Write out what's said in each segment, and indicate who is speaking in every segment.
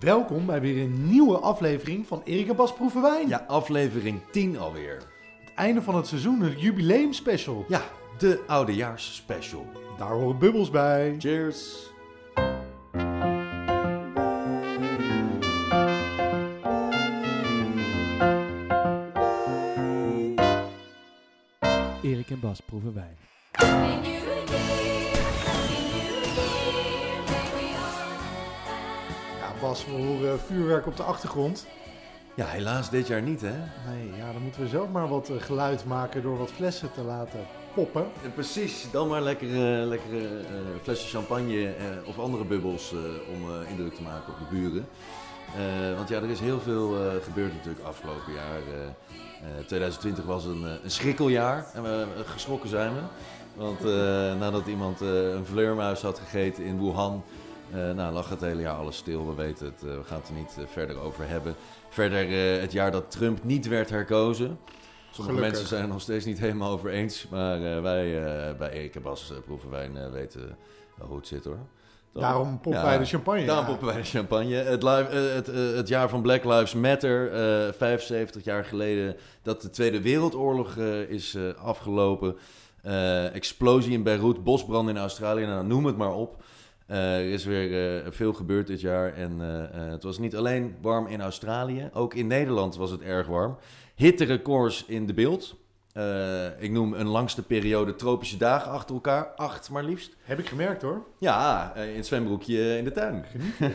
Speaker 1: Welkom bij weer een nieuwe aflevering van Erik en Bas Proeven Wijn.
Speaker 2: Ja, aflevering 10 alweer.
Speaker 1: Het einde van het seizoen, het jubileumspecial.
Speaker 2: Ja, de oudejaarsspecial.
Speaker 1: Daar horen bubbels bij.
Speaker 2: Cheers.
Speaker 3: Erik en Bas proeven wijn.
Speaker 4: Happy New Year, Happy New Year, may we all have
Speaker 1: Ja, Bas, we horen eh, vuurwerk op de achtergrond.
Speaker 2: Ja, helaas dit jaar niet, hè?
Speaker 1: Nee, ja, dan moeten we zelf maar wat eh, geluid maken door wat flessen te laten poppen.
Speaker 2: En Eh, precies, dan maar lekkere, lekkere eh, flessen champagne eh, of andere bubbels eh, om eh, indruk te maken op de buren. Eh, want ja, er is heel veel eh, gebeurd natuurlijk afgelopen jaar. Eh, eh, 2020 was een, eh, een schrikkeljaar en we, eh, geschrokken zijn we. Want eh, nadat iemand eh, een vleermuis had gegeten in Wuhan, eh, nou, lag het hele jaar alles stil. We weten het, eh, we gaan het er niet eh, verder over hebben. Verder eh, het jaar dat Trump niet werd herkozen. Sommige
Speaker 1: Gelukkig.
Speaker 2: mensen zijn het nog steeds niet helemaal over eens, maar eh, wij eh, bij Erik en Bas eh, proeven wijn eh, weten wel hoe het zit hoor. Toch?
Speaker 1: Daarom poppen
Speaker 2: Ja.
Speaker 1: wij de champagne.
Speaker 2: Daarom
Speaker 1: ja.
Speaker 2: poppen wij de champagne. Het, live- eh, het, eh, het jaar van Black Lives Matter, eh, 75 jaar geleden dat de Tweede Wereldoorlog eh, is eh, afgelopen. Eh, explosie in Beirut, bosbrand in Australië, nou, noem het maar op. Eh, er is weer eh, veel gebeurd dit jaar en eh, eh, het was niet alleen warm in Australië, ook in Nederland was het erg warm. Hitterecords in de beeld. Eh, ik noem een langste periode tropische dagen achter elkaar, acht maar liefst.
Speaker 1: Heb ik gemerkt hoor.
Speaker 2: Ja, eh, in het zwembroekje in de tuin.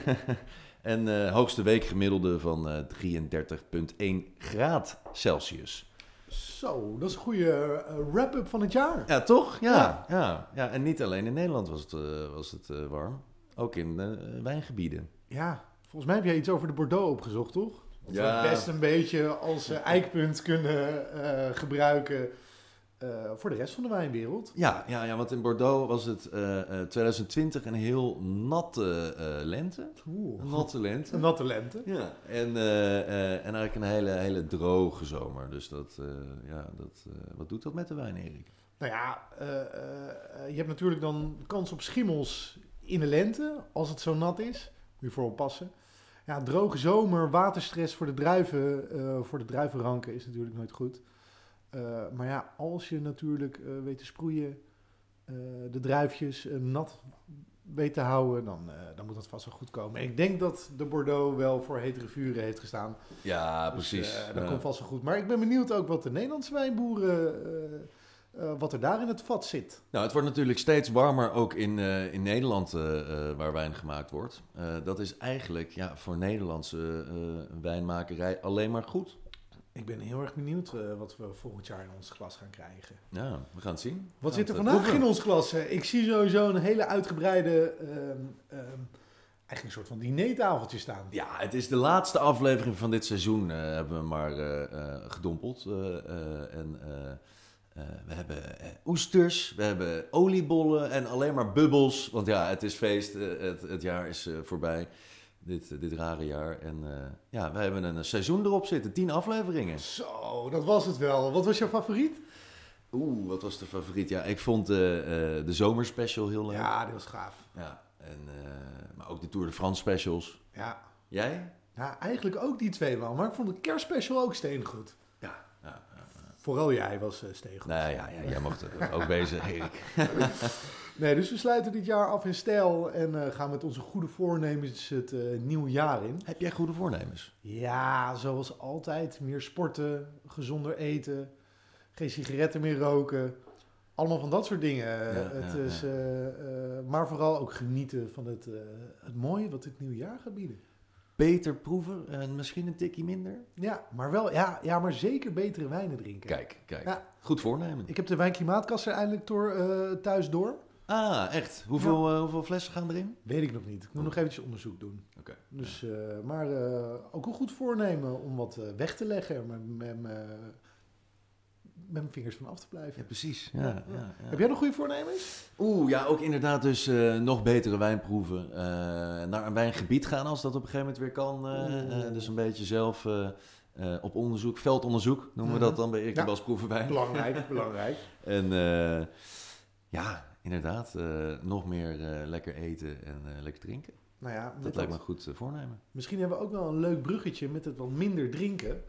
Speaker 2: en eh, hoogste weekgemiddelde van eh 33,1 graad Celsius.
Speaker 1: Zo, dat is een goede eh, wrap-up van het jaar.
Speaker 2: Ja, toch? Ja.
Speaker 1: Ja.
Speaker 2: ja. ja. en niet alleen in Nederland was het, eh, was het eh, warm. Ook in eh, wijngebieden.
Speaker 1: Ja, volgens mij heb jij iets over de Bordeaux opgezocht, toch? Dat
Speaker 2: Ja.
Speaker 1: we best een beetje als eh, eikpunt kunnen eh, gebruiken eh, voor de rest van de wijnwereld.
Speaker 2: Ja, ja, ja, want in Bordeaux was het eh, eh, 2020 een heel natte eh, lente.
Speaker 1: Oeh,
Speaker 2: Een natte lente.
Speaker 1: een natte lente.
Speaker 2: Ja, en, eh, eh, en eigenlijk een hele, hele droge zomer. Dus dat, eh, ja, dat, eh, wat doet dat met de wijn, Erik?
Speaker 1: Nou ja, eh, eh, je hebt natuurlijk dan kans op schimmels in de lente, als het zo nat is. Moet je voor oppassen. Ja, droge zomer, waterstress voor de, druiven, eh, voor de druivenranken is natuurlijk nooit goed. Eh, maar ja, als je natuurlijk eh, weet te sproeien, eh, de druifjes eh, nat weet te houden, dan, eh, dan moet dat vast wel goed komen. En ik denk dat de Bordeaux wel voor hetere vuren heeft gestaan.
Speaker 2: Ja,
Speaker 1: Dus,
Speaker 2: precies.
Speaker 1: eh, dat
Speaker 2: Ja.
Speaker 1: komt vast wel goed. Maar ik ben benieuwd ook wat de Nederlandse wijnboeren, eh, eh, wat er daar in het vat zit.
Speaker 2: Nou, het wordt natuurlijk steeds warmer ook in, eh, in Nederland eh, eh, waar wijn gemaakt wordt. Eh, dat is eigenlijk ja, voor Nederlandse eh, wijnmakerij alleen maar goed.
Speaker 1: Ik ben heel erg benieuwd eh, wat we volgend jaar in ons glas gaan krijgen.
Speaker 2: Ja, we gaan het zien.
Speaker 1: Wat
Speaker 2: We
Speaker 1: zit er
Speaker 2: gaan het, eh,
Speaker 1: vandaag in
Speaker 2: proeven.
Speaker 1: ons glas? Eh, Ik zie sowieso een hele uitgebreide, ehm, ehm, eigenlijk een soort van dinertafeltje staan.
Speaker 2: Ja, het is de laatste aflevering van dit seizoen, eh, hebben we maar eh, eh, gedompeld. Eh, eh, en eh, eh, we hebben eh, oesters, we hebben oliebollen en alleen maar bubbels. Want ja, het is feest, eh, het, het jaar is eh, voorbij, dit, dit rare jaar. En eh, ja, we hebben een seizoen erop zitten, tien afleveringen.
Speaker 1: Zo, dat was het wel. Wat was jouw favoriet?
Speaker 2: Oeh, wat was de favoriet? Ja, ik vond eh, eh, de zomerspecial heel leuk.
Speaker 1: Ja, die was gaaf.
Speaker 2: Ja, en, eh, maar ook de Tour de France specials.
Speaker 1: Ja.
Speaker 2: Jij?
Speaker 1: ja, eigenlijk ook die twee wel. Maar ik vond de kerstspecial ook steengoed.
Speaker 2: Ja. ja, ja.
Speaker 1: Vooral jij was eh, steengoed.
Speaker 2: Nou ja, ja, jij mocht er ook wezen, Erik.
Speaker 1: Nee, dus we sluiten dit jaar af in stijl en eh, gaan met onze goede voornemens het eh, nieuwe jaar in.
Speaker 2: Heb jij goede voornemens?
Speaker 1: Ja, zoals altijd. Meer sporten, gezonder eten, geen sigaretten meer roken. Allemaal van dat soort dingen. het
Speaker 2: ja,
Speaker 1: is,
Speaker 2: ja.
Speaker 1: eh, eh, maar vooral ook genieten van het, eh, het mooie wat dit nieuwe jaar gaat bieden.
Speaker 2: Beter proeven en misschien een tikje minder?
Speaker 1: Ja, maar wel, ja, ja, maar zeker betere wijnen drinken.
Speaker 2: Kijk, kijk.
Speaker 1: Ja.
Speaker 2: Goed voornemen.
Speaker 1: Ik heb de wijnklimaatkast er eindelijk door, eh, thuis door.
Speaker 2: Ah, echt? Hoeveel, eh, hoeveel flessen gaan erin?
Speaker 1: Weet ik nog niet. Ik moet nog eventjes onderzoek doen.
Speaker 2: Oké.
Speaker 1: Dus, eh, maar eh, ook een goed voornemen om wat eh, weg te leggen. Met, met, met, met mijn vingers van af te blijven.
Speaker 2: Ja, precies. Ja, ja, ja.
Speaker 1: Heb jij nog goede voornemens?
Speaker 2: Oeh, ja, ook inderdaad dus eh, nog betere wijn proeven. Eh, naar een wijngebied gaan als dat op een gegeven moment weer kan. eh,
Speaker 1: Oeh.
Speaker 2: eh, dus een beetje zelf eh, eh, op onderzoek, veldonderzoek noemen we dat dan bij Erik
Speaker 1: Ja.
Speaker 2: de Bas Proevenwijn.
Speaker 1: Belangrijk, belangrijk.
Speaker 2: En eh, ja, inderdaad, eh, nog meer eh, lekker eten en eh, lekker drinken.
Speaker 1: Nou ja, met
Speaker 2: Dat lijkt me een goed eh, voornemen.
Speaker 1: Misschien hebben we ook wel een leuk bruggetje met het wat minder drinken.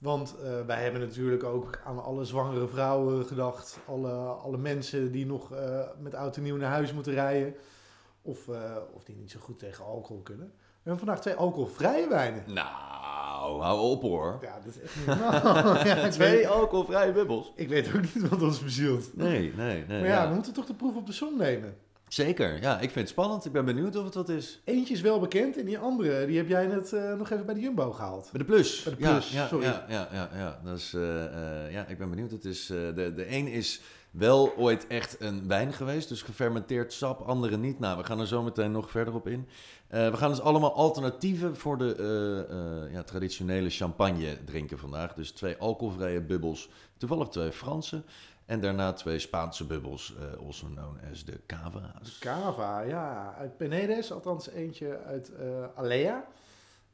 Speaker 1: Want eh, wij hebben natuurlijk ook aan alle zwangere vrouwen gedacht. Alle, alle mensen die nog eh, met oud en nieuw naar huis moeten rijden. Of, eh, of die niet zo goed tegen alcohol kunnen. We hebben vandaag twee alcoholvrije wijnen.
Speaker 2: Nou, hou op hoor.
Speaker 1: Ja, dat is echt niet normaal. Ja, ik,
Speaker 2: Twee
Speaker 1: weet,
Speaker 2: alcoholvrije bubbels.
Speaker 1: ik weet ook niet wat ons bezielt.
Speaker 2: Nee, nee, nee.
Speaker 1: Maar ja,
Speaker 2: ja.
Speaker 1: we moeten toch de proef op de som nemen.
Speaker 2: Zeker, ja. Ik vind het spannend. Ik ben benieuwd of het wat is.
Speaker 1: Eentje is wel bekend en die andere die heb jij net eh, nog even bij de Jumbo gehaald.
Speaker 2: Bij de plus.
Speaker 1: Bij de plus,
Speaker 2: ja, ja,
Speaker 1: sorry.
Speaker 2: Ja, ja, ja, ja. Dat is, eh, eh, ja, ik ben benieuwd. Het is, eh, de, de een is wel ooit echt een wijn geweest, dus gefermenteerd sap, andere niet. Nou, we gaan er zo meteen nog verder op in. Eh, we gaan dus allemaal alternatieven voor de eh, eh, ja, traditionele champagne drinken vandaag. Dus twee alcoholvrije bubbels, toevallig twee Franse. En daarna twee Spaanse bubbels, eh, also known as de cava's.
Speaker 1: Cava, ja. Uit Penedes, althans eentje uit eh, Alea.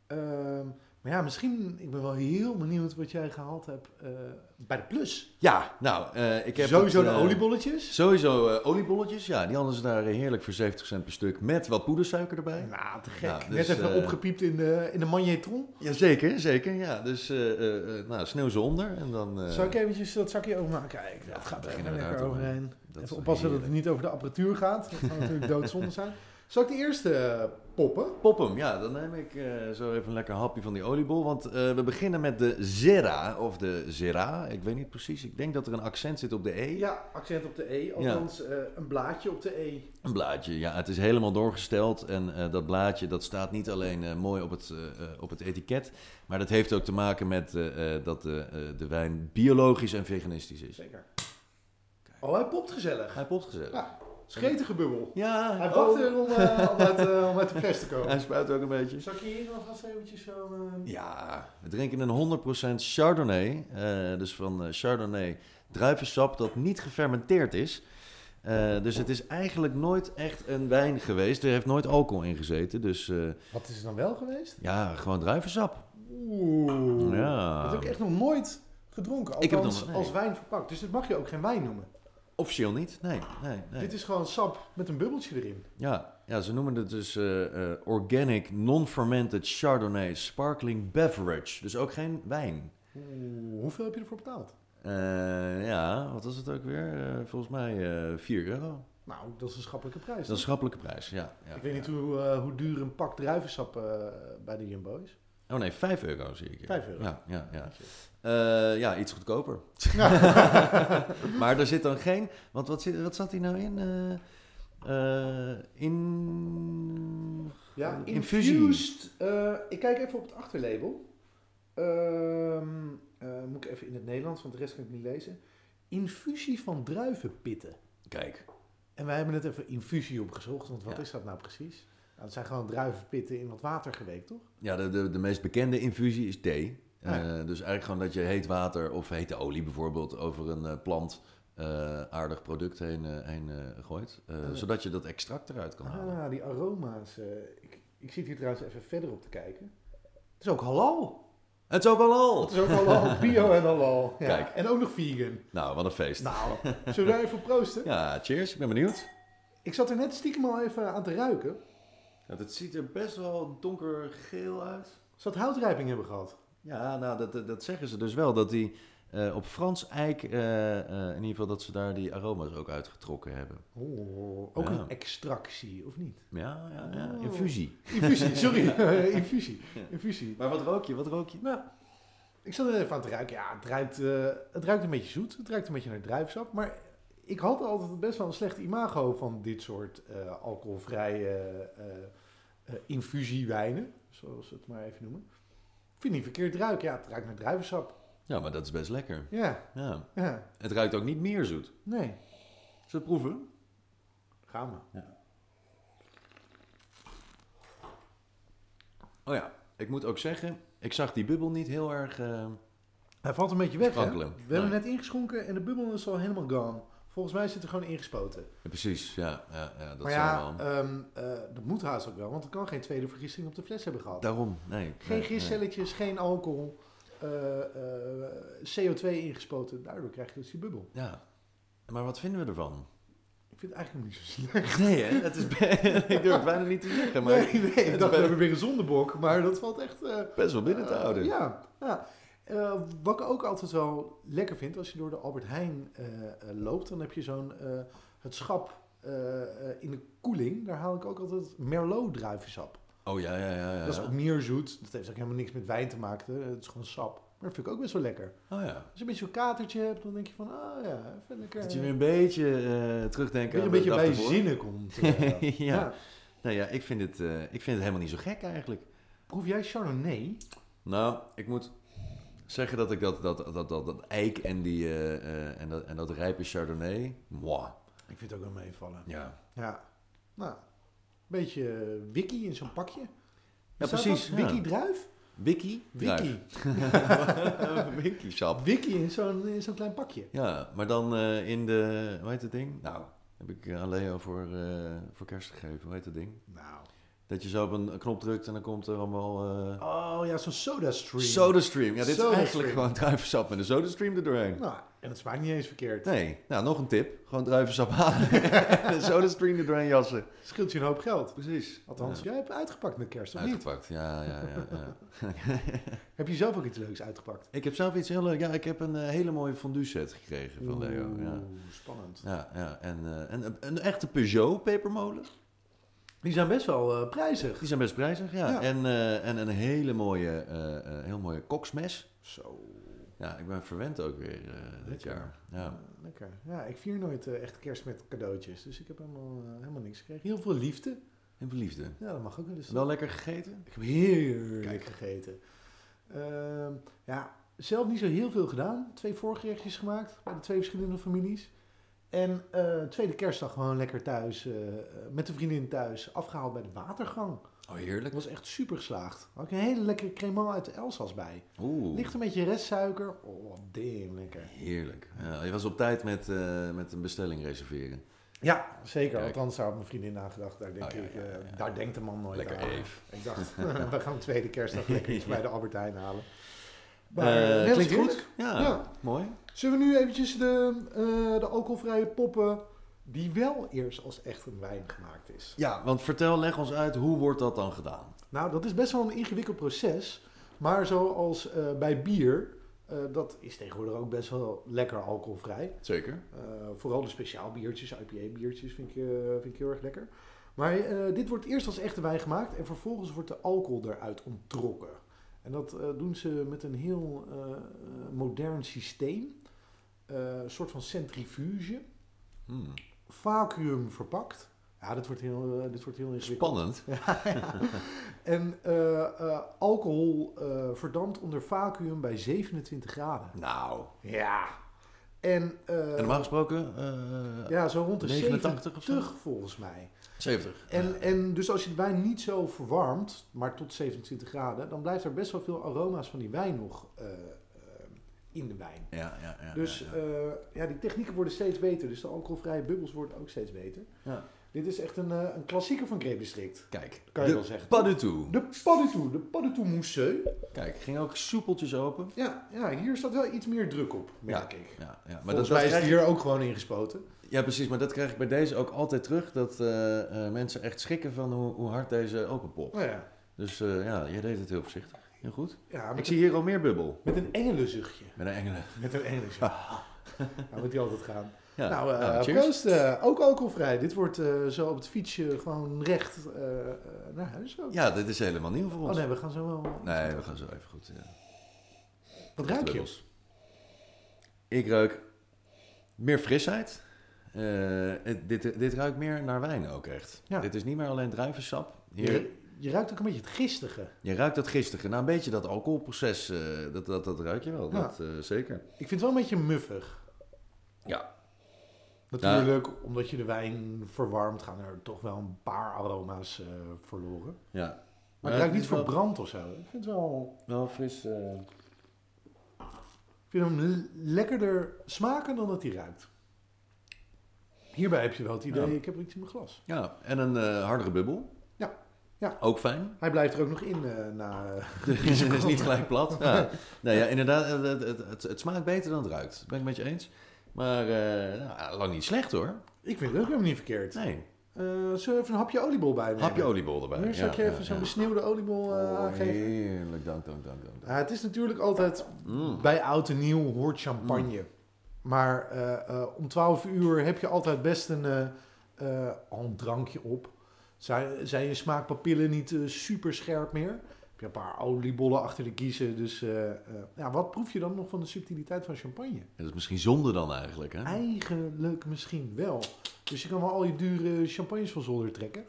Speaker 1: Ehm, maar ja, misschien, ik ben wel heel benieuwd wat jij gehaald hebt eh, bij de Plus.
Speaker 2: Ja, nou, eh, ik heb
Speaker 1: Sowieso
Speaker 2: het,
Speaker 1: de
Speaker 2: eh,
Speaker 1: oliebolletjes.
Speaker 2: Sowieso eh, oliebolletjes, ja. Die hadden ze daar heerlijk voor 70 cent per stuk met wat poedersuiker erbij.
Speaker 1: Nou, te gek.
Speaker 2: Nou, dus,
Speaker 1: Net even
Speaker 2: eh,
Speaker 1: opgepiept in de, in de manjetron.
Speaker 2: Jazeker, zeker, ja. Dus eh, eh, eh, nou, sneeuw ze onder en dan... eh,
Speaker 1: Zal ik eventjes dat zakje openmaken? Kijk,
Speaker 2: Ja,
Speaker 1: dat gaat er
Speaker 2: beginnen
Speaker 1: even
Speaker 2: we daar
Speaker 1: lekker
Speaker 2: toch mee.
Speaker 1: overheen.
Speaker 2: dat is
Speaker 1: even oppassen dat het
Speaker 2: heerlijk.
Speaker 1: niet over de apparatuur gaat. Dat zou natuurlijk doodzonde zijn. Zal ik de eerste eh, poppen?
Speaker 2: Pop hem, ja. Dan neem ik eh, zo even een lekker hapje van die oliebol. Want eh, we beginnen met de Zera, of de Zera. Ik weet niet precies. Ik denk dat er een accent zit op de E.
Speaker 1: Ja, accent op de E. Althans,
Speaker 2: althans,
Speaker 1: een blaadje op de E.
Speaker 2: Een blaadje, ja. Het is helemaal doorgesteld. En eh, dat blaadje dat staat niet alleen eh, mooi op het, eh, eh, op het etiket. Maar dat heeft ook te maken met eh, eh, dat de, eh, de wijn biologisch en veganistisch is.
Speaker 1: Zeker. Oh, hij popt gezellig.
Speaker 2: Hij popt gezellig.
Speaker 1: Ja. Schetige bubbel.
Speaker 2: Ja,
Speaker 1: Hij
Speaker 2: oh.
Speaker 1: wacht er om, eh, om, uit, eh, om uit de fles te komen.
Speaker 2: Hij spuit ook een beetje.
Speaker 1: Zal ik hier alvast eventjes zo... eh,
Speaker 2: Ja, we drinken een 100% Chardonnay. eh, dus van eh, Chardonnay druivensap dat niet gefermenteerd is. Eh, dus het is eigenlijk nooit echt een wijn geweest. Er heeft nooit alcohol in gezeten. Dus eh,
Speaker 1: Wat is het dan wel geweest?
Speaker 2: ja, gewoon druivensap.
Speaker 1: Oeh.
Speaker 2: Ja.
Speaker 1: Dat heb ik echt nog nooit gedronken. Althans,
Speaker 2: Ik heb het nog nooit.
Speaker 1: als wijn verpakt. Dus dit mag je ook geen wijn noemen.
Speaker 2: Officieel niet. Nee, nee, nee.
Speaker 1: Dit is gewoon sap met een bubbeltje erin.
Speaker 2: Ja, ja, ze noemen het dus eh, eh, Organic Non-Fermented Chardonnay Sparkling Beverage. Dus ook geen wijn.
Speaker 1: Oeh, hoeveel heb je ervoor betaald?
Speaker 2: Eh, ja, wat was het ook weer? Eh, volgens mij eh 4 euro.
Speaker 1: Nou, dat is een schappelijke prijs.
Speaker 2: Dat is een
Speaker 1: toch?
Speaker 2: schappelijke prijs, ja. ja
Speaker 1: ik weet niet
Speaker 2: ja.
Speaker 1: hoe, eh, hoe duur een pak druivensap eh, bij de Jumbo is.
Speaker 2: Oh nee, 5 euro zie ik. hier.
Speaker 1: Vijf euro.
Speaker 2: Ja, ja, ja. Eh, ja, iets goedkoper. maar er zit dan geen... Want wat, zit, wat zat hier nou in? Eh, eh, in...
Speaker 1: Ja,
Speaker 2: Infusie.
Speaker 1: infused. eh, ik kijk even op het achterlabel. Ehm, eh, moet ik even in het Nederlands, want de rest kan ik niet lezen. Infusie van druivenpitten.
Speaker 2: Kijk.
Speaker 1: En wij hebben net even infusie opgezocht, want wat
Speaker 2: Ja.
Speaker 1: is dat nou precies? Nou, het zijn gewoon druivenpitten in wat water geweekt, toch?
Speaker 2: Ja, de, de, de meest bekende infusie is thee. Eh,
Speaker 1: Ja.
Speaker 2: dus eigenlijk gewoon dat je heet water of hete olie bijvoorbeeld over een eh, plant... eh, aardig product heen, eh, heen eh, gooit. Eh,
Speaker 1: ja.
Speaker 2: Zodat je dat extract eruit kan halen.
Speaker 1: Ah, die aroma's. eh, ik, ik zit hier trouwens even verder op te kijken. Het is ook halal.
Speaker 2: Het is ook al
Speaker 1: Het is ook halal, bio en halal. Ja.
Speaker 2: Kijk.
Speaker 1: En ook nog vegan.
Speaker 2: Nou, wat een feest.
Speaker 1: Nou, zullen we daar even op proosten?
Speaker 2: Ja, cheers. Ik ben benieuwd.
Speaker 1: Ik zat er net stiekem al even aan te ruiken.
Speaker 2: Het ziet er best wel donkergeel uit.
Speaker 1: Zou het houtrijping hebben gehad?
Speaker 2: Ja, nou, dat, dat- dat zeggen ze dus wel. Dat die eh, op Frans eik, eh, eh, in ieder geval dat ze daar die aroma's ook uitgetrokken hebben.
Speaker 1: Oh, ook
Speaker 2: Ja.
Speaker 1: een extractie, of niet?
Speaker 2: Ja, ja, ja.
Speaker 1: Oh.
Speaker 2: Infusie.
Speaker 1: Infusie, sorry. Eh, infusie, infusie.
Speaker 2: Maar wat rook je? Wat rook je?
Speaker 1: Nou, ik zat er even aan te ruiken. Ja, het ruikt, eh, het ruikt een beetje zoet. Het ruikt een beetje naar druivensap. Maar ik had altijd best wel een slecht imago van dit soort eh, alcoholvrije eh, eh, infusiewijnen. Zoals we het maar even noemen. Ik vind het niet verkeerd ruiken. Ja, het ruikt naar druivensap.
Speaker 2: Ja, maar dat is best lekker.
Speaker 1: Ja,
Speaker 2: Ja.
Speaker 1: ja.
Speaker 2: Het ruikt ook niet meer zoet.
Speaker 1: Nee,
Speaker 2: Zullen we het proeven?
Speaker 1: gaan we.
Speaker 2: Oh ja, ik moet ook zeggen, ik zag die bubbel niet heel erg... eh,
Speaker 1: Hij valt een beetje weg, hè? We
Speaker 2: Sprankelen.
Speaker 1: hebben net ingeschonken en de bubbel is al helemaal gone. Volgens mij zit er gewoon ingespoten.
Speaker 2: Precies, ja. ja, ja dat
Speaker 1: maar
Speaker 2: zal
Speaker 1: ja,
Speaker 2: wel.
Speaker 1: ehm, eh, dat moet haast ook wel, want er kan geen tweede vergisting op de fles hebben gehad.
Speaker 2: Daarom, nee.
Speaker 1: geen
Speaker 2: nee, nee.
Speaker 1: gistcelletjes, geen alcohol, eh, eh, CO2 ingespoten. Daardoor krijg je dus die bubbel.
Speaker 2: Ja. Maar wat vinden we ervan?
Speaker 1: Ik Ik vind het eigenlijk nog niet zo slecht.
Speaker 2: Nee, hè? Het is, ik durf het bijna niet te zeggen, maar
Speaker 1: nee, nee, ik
Speaker 2: is
Speaker 1: dacht, we
Speaker 2: bijna-
Speaker 1: hebben weer een zondebok, maar dat valt echt... eh,
Speaker 2: best wel binnen te
Speaker 1: eh,
Speaker 2: houden.
Speaker 1: ja, ja. Eh, wat ik ook altijd wel lekker vind, als je door de Albert Heijn eh, eh, loopt, dan heb je zo'n, eh, het schap eh, eh, in de koeling, daar haal ik ook altijd Merlot druivensap.
Speaker 2: Oh ja, ja, ja. ja.
Speaker 1: Dat is wat meer zoet, dat heeft ook helemaal niks met wijn te maken, het is gewoon sap. Maar dat vind ik ook best wel lekker.
Speaker 2: Oh ja.
Speaker 1: Als je een beetje zo'n katertje hebt, dan denk je van, ah ja, even lekker.
Speaker 2: Dat je weer een beetje eh,
Speaker 1: dat je
Speaker 2: terugdenken aan
Speaker 1: een
Speaker 2: de
Speaker 1: beetje
Speaker 2: dag
Speaker 1: bij
Speaker 2: ervoor.
Speaker 1: zinnen komt. eh,
Speaker 2: Ja. Nou ja, ik vind, het, eh, ik vind het helemaal niet zo gek eigenlijk.
Speaker 1: Proef jij Chardonnay?
Speaker 2: Nou, ik moet zeggen dat ik dat, dat, dat, dat, dat eik en, die, eh, eh, en, dat, en dat rijpe chardonnay... Mwah.
Speaker 1: Ik vind het ook wel meevallen.
Speaker 2: Ja.
Speaker 1: Ja. Nou, een beetje eh, wiki in zo'n pakje.
Speaker 2: Ja,
Speaker 1: Staat
Speaker 2: precies,
Speaker 1: dat?
Speaker 2: ja.
Speaker 1: Wiki druif?
Speaker 2: Wiki?
Speaker 1: Wiki.
Speaker 2: Druif. Wiki sap.
Speaker 1: Wiki in zo'n in zo'n klein pakje.
Speaker 2: Ja, maar dan eh, in de... Hoe heet dat ding? Nou, heb ik aan Leo voor, eh, voor kerst gegeven. Hoe heet dat ding?
Speaker 1: Nou.
Speaker 2: Dat je zo op een knop drukt en dan komt er allemaal... eh
Speaker 1: Oh ja, zo'n soda stream.
Speaker 2: SodaStream. Ja, dit
Speaker 1: Sodastream.
Speaker 2: is eigenlijk gewoon druivensap met een SodaStream er doorheen.
Speaker 1: Nou, en het smaakt niet eens verkeerd.
Speaker 2: Nee, nou nog een tip. Gewoon druivensap halen en een SodaStream er doorheen jassen.
Speaker 1: Scheelt je een hoop geld.
Speaker 2: Precies.
Speaker 1: Althans, jij hebt uitgepakt met kerst, of niet?
Speaker 2: Uitgepakt, ja, ja, ja. ja.
Speaker 1: Heb je zelf ook iets leuks uitgepakt?
Speaker 2: ik heb zelf iets heel leuk. Ja, ik heb een eh, hele mooie fondue set gekregen van Leo. Ja,
Speaker 1: Oeh, spannend.
Speaker 2: ja, ja. En, eh, en een- een echte Peugeot pepermolen.
Speaker 1: Die zijn best wel eh, prijzig.
Speaker 2: Die zijn best prijzig, ja.
Speaker 1: Ja.
Speaker 2: En, eh, en een hele mooie, eh, eh, heel mooie koksmes.
Speaker 1: Zo.
Speaker 2: Ja, ik ben verwend ook weer eh, dit
Speaker 1: Lekker.
Speaker 2: jaar. Ja.
Speaker 1: Eh, lekker. Ja, ik vier nooit eh, echt kerst met cadeautjes. Dus ik heb helemaal, eh, helemaal niks gekregen. Heel veel liefde.
Speaker 2: En verliefde.
Speaker 1: Ja, dat mag ook wel eens.
Speaker 2: Wel lekker gegeten?
Speaker 1: Ik heb heerlijk
Speaker 2: Kijk.
Speaker 1: gegeten. Ehm, ja, zelf niet zo heel veel gedaan. Twee voorgerechtjes gemaakt bij de twee verschillende families. En eh, tweede kerstdag gewoon lekker thuis, eh, eh, met de vriendin thuis, afgehaald bij de watergang.
Speaker 2: Oh,
Speaker 1: Dat
Speaker 2: heerlijk.
Speaker 1: was echt super geslaagd. Had ik een hele lekkere cremant uit de Elsass bij.
Speaker 2: Oeh.
Speaker 1: Ligt een beetje restsuiker. Oh, damn lekker.
Speaker 2: Heerlijk. Ja, je was op tijd met, eh, met een bestelling reserveren.
Speaker 1: Ja, zeker.
Speaker 2: Kijk.
Speaker 1: Althans, daar had mijn vriendin aan gedacht. Daar, denk
Speaker 2: Oh, ja,
Speaker 1: ik,
Speaker 2: ja, ja,
Speaker 1: eh,
Speaker 2: ja.
Speaker 1: daar denkt de man nooit
Speaker 2: Lekker
Speaker 1: aan.
Speaker 2: Eve.
Speaker 1: Ik dacht, we gaan de tweede kerstdag lekker iets bij de Albert Heijn halen. Maar,
Speaker 2: Eh,
Speaker 1: eh, net
Speaker 2: klinkt
Speaker 1: als
Speaker 2: goed? Ja,
Speaker 1: Ja.
Speaker 2: mooi.
Speaker 1: Zullen we nu eventjes de, eh, de alcoholvrije poppen, die wel eerst als echt een wijn gemaakt is.
Speaker 2: Ja, want vertel, leg ons uit, hoe wordt dat dan gedaan?
Speaker 1: Nou, dat is best wel een ingewikkeld proces. Maar zoals eh, bij bier, eh, dat is tegenwoordig ook best wel lekker alcoholvrij.
Speaker 2: Zeker.
Speaker 1: Eh, vooral de speciaal biertjes, IPA-biertjes, vind, ik, eh, vind ik heel erg lekker. Maar eh, dit wordt eerst als echte wijn gemaakt en vervolgens wordt de alcohol eruit onttrokken. En dat eh, doen ze met een heel eh, eh, modern systeem. Eh, een soort van centrifuge.
Speaker 2: Hmm,
Speaker 1: vacuüm verpakt. Ja, dit wordt heel, eh, dit wordt heel ingewikkeld.
Speaker 2: Spannend.
Speaker 1: En eh, eh, alcohol eh, verdampt onder vacuüm bij 27 graden.
Speaker 2: Nou,
Speaker 1: Ja. En, eh,
Speaker 2: en normaal gesproken? eh,
Speaker 1: ja, zo rond de
Speaker 2: 89 of zo?
Speaker 1: 70 volgens mij.
Speaker 2: 70.
Speaker 1: En, en dus als je de wijn niet zo verwarmt, maar tot 27 graden, dan blijft er best wel veel aroma's van die wijn nog eh, eh, in de wijn.
Speaker 2: Ja, ja, ja.
Speaker 1: Dus
Speaker 2: ja, ja.
Speaker 1: eh, ja, die technieken worden steeds beter. Dus de alcoholvrije bubbels worden ook steeds beter.
Speaker 2: Ja.
Speaker 1: Dit is echt een, eh, een klassieker van Grape District.
Speaker 2: Kijk,
Speaker 1: kan je
Speaker 2: de
Speaker 1: wel zeggen.
Speaker 2: pas du tout.
Speaker 1: De paddentoe, de paddentoe mousseux.
Speaker 2: Kijk, ging ook soepeltjes open.
Speaker 1: Ja, ja, hier staat wel iets meer druk op, merk ik.
Speaker 2: Ja, ja. Maar
Speaker 1: Maar
Speaker 2: dat,
Speaker 1: Volgens
Speaker 2: dat
Speaker 1: mij is
Speaker 2: krijg
Speaker 1: het hier ook gewoon ingespoten.
Speaker 2: ik- ja, precies. Maar dat krijg ik bij deze ook altijd terug. Dat eh, eh, mensen echt schrikken van hoe, hoe hard deze openpopt.
Speaker 1: Nou ja,
Speaker 2: Dus eh, ja, jij deed het heel voorzichtig. Heel goed.
Speaker 1: ja
Speaker 2: Ik
Speaker 1: met,
Speaker 2: zie hier al meer bubbel.
Speaker 1: met een engelenzuchtje.
Speaker 2: Met een engelen.
Speaker 1: Met een engelenzuchtje. nou, moet die altijd gaan.
Speaker 2: Ja.
Speaker 1: nou, eh,
Speaker 2: cheers.
Speaker 1: proost. eh, ook alcoholvrij. Dit wordt eh, zo op het fietsje gewoon recht eh, eh, naar huis ook.
Speaker 2: Ja, Nou, dit is helemaal nieuw voor
Speaker 1: Oh
Speaker 2: ons.
Speaker 1: nee, we gaan zo wel...
Speaker 2: Nee, we gaan zo even goed. Ja.
Speaker 1: Wat ruik je?
Speaker 2: Bubbels. Ik ruik meer frisheid. Eh, het- dit, dit ruikt meer naar wijn ook echt.
Speaker 1: Ja.
Speaker 2: Dit is niet meer alleen druivensap. Hier,
Speaker 1: Je, je ruikt ook een beetje het gistige.
Speaker 2: je ruikt dat gisteren. Nou, een beetje dat alcoholproces, eh, dat, dat, dat ruik je wel.
Speaker 1: Ja.
Speaker 2: Dat, eh, zeker.
Speaker 1: Ik vind het wel een beetje muffig.
Speaker 2: Ja. Nou-
Speaker 1: Natuurlijk, omdat je de wijn verwarmt, gaan er toch wel een paar aroma's eh, verloren.
Speaker 2: ja.
Speaker 1: Maar het ruikt niet
Speaker 2: is Eh, wel-
Speaker 1: verbrand of zo. Ik vind, het Eh, wel,
Speaker 2: Wel fris. eh,
Speaker 1: ik vind hem l- lekkerder smaken dan dat hij ruikt. Hierbij heb je wel het idee,
Speaker 2: Ja.
Speaker 1: ik heb iets in mijn glas.
Speaker 2: ja, en een eh, hardere bubbel.
Speaker 1: Ja. Ja.
Speaker 2: Ook fijn.
Speaker 1: Hij blijft er ook nog in eh, na...
Speaker 2: Dus het is niet gelijk plat. Ja. Nou ja, inderdaad, het, het, het, het smaakt beter dan het ruikt. Dat ben ik met je eens. Maar eh, nou, lang niet slecht hoor.
Speaker 1: Ik vind het ook helemaal niet verkeerd. Eh
Speaker 2: Nee,
Speaker 1: zullen we even een hapje oliebol bij nemen?
Speaker 2: hapje oliebol erbij.
Speaker 1: Nu zal ik je even zo'n besneeuwde oliebol eh,
Speaker 2: Oh,
Speaker 1: aangeven.
Speaker 2: heerlijk, dank, dank, dank. dank.
Speaker 1: Ja, het is natuurlijk altijd
Speaker 2: Mm.
Speaker 1: bij oud en nieuw hoort champagne. Maar eh, eh, om 12 uur heb je altijd best een, eh, eh, al een drankje op. Zijn, zijn je smaakpapillen niet eh, super scherp meer? Heb je een paar oliebollen achter de kiezen. Dus eh, eh, ja, wat proef je dan nog van de subtiliteit van champagne?
Speaker 2: Dat is misschien zonde dan eigenlijk, hè?
Speaker 1: Eigenlijk misschien wel. Dus je kan wel al je dure champagnes van zolder trekken.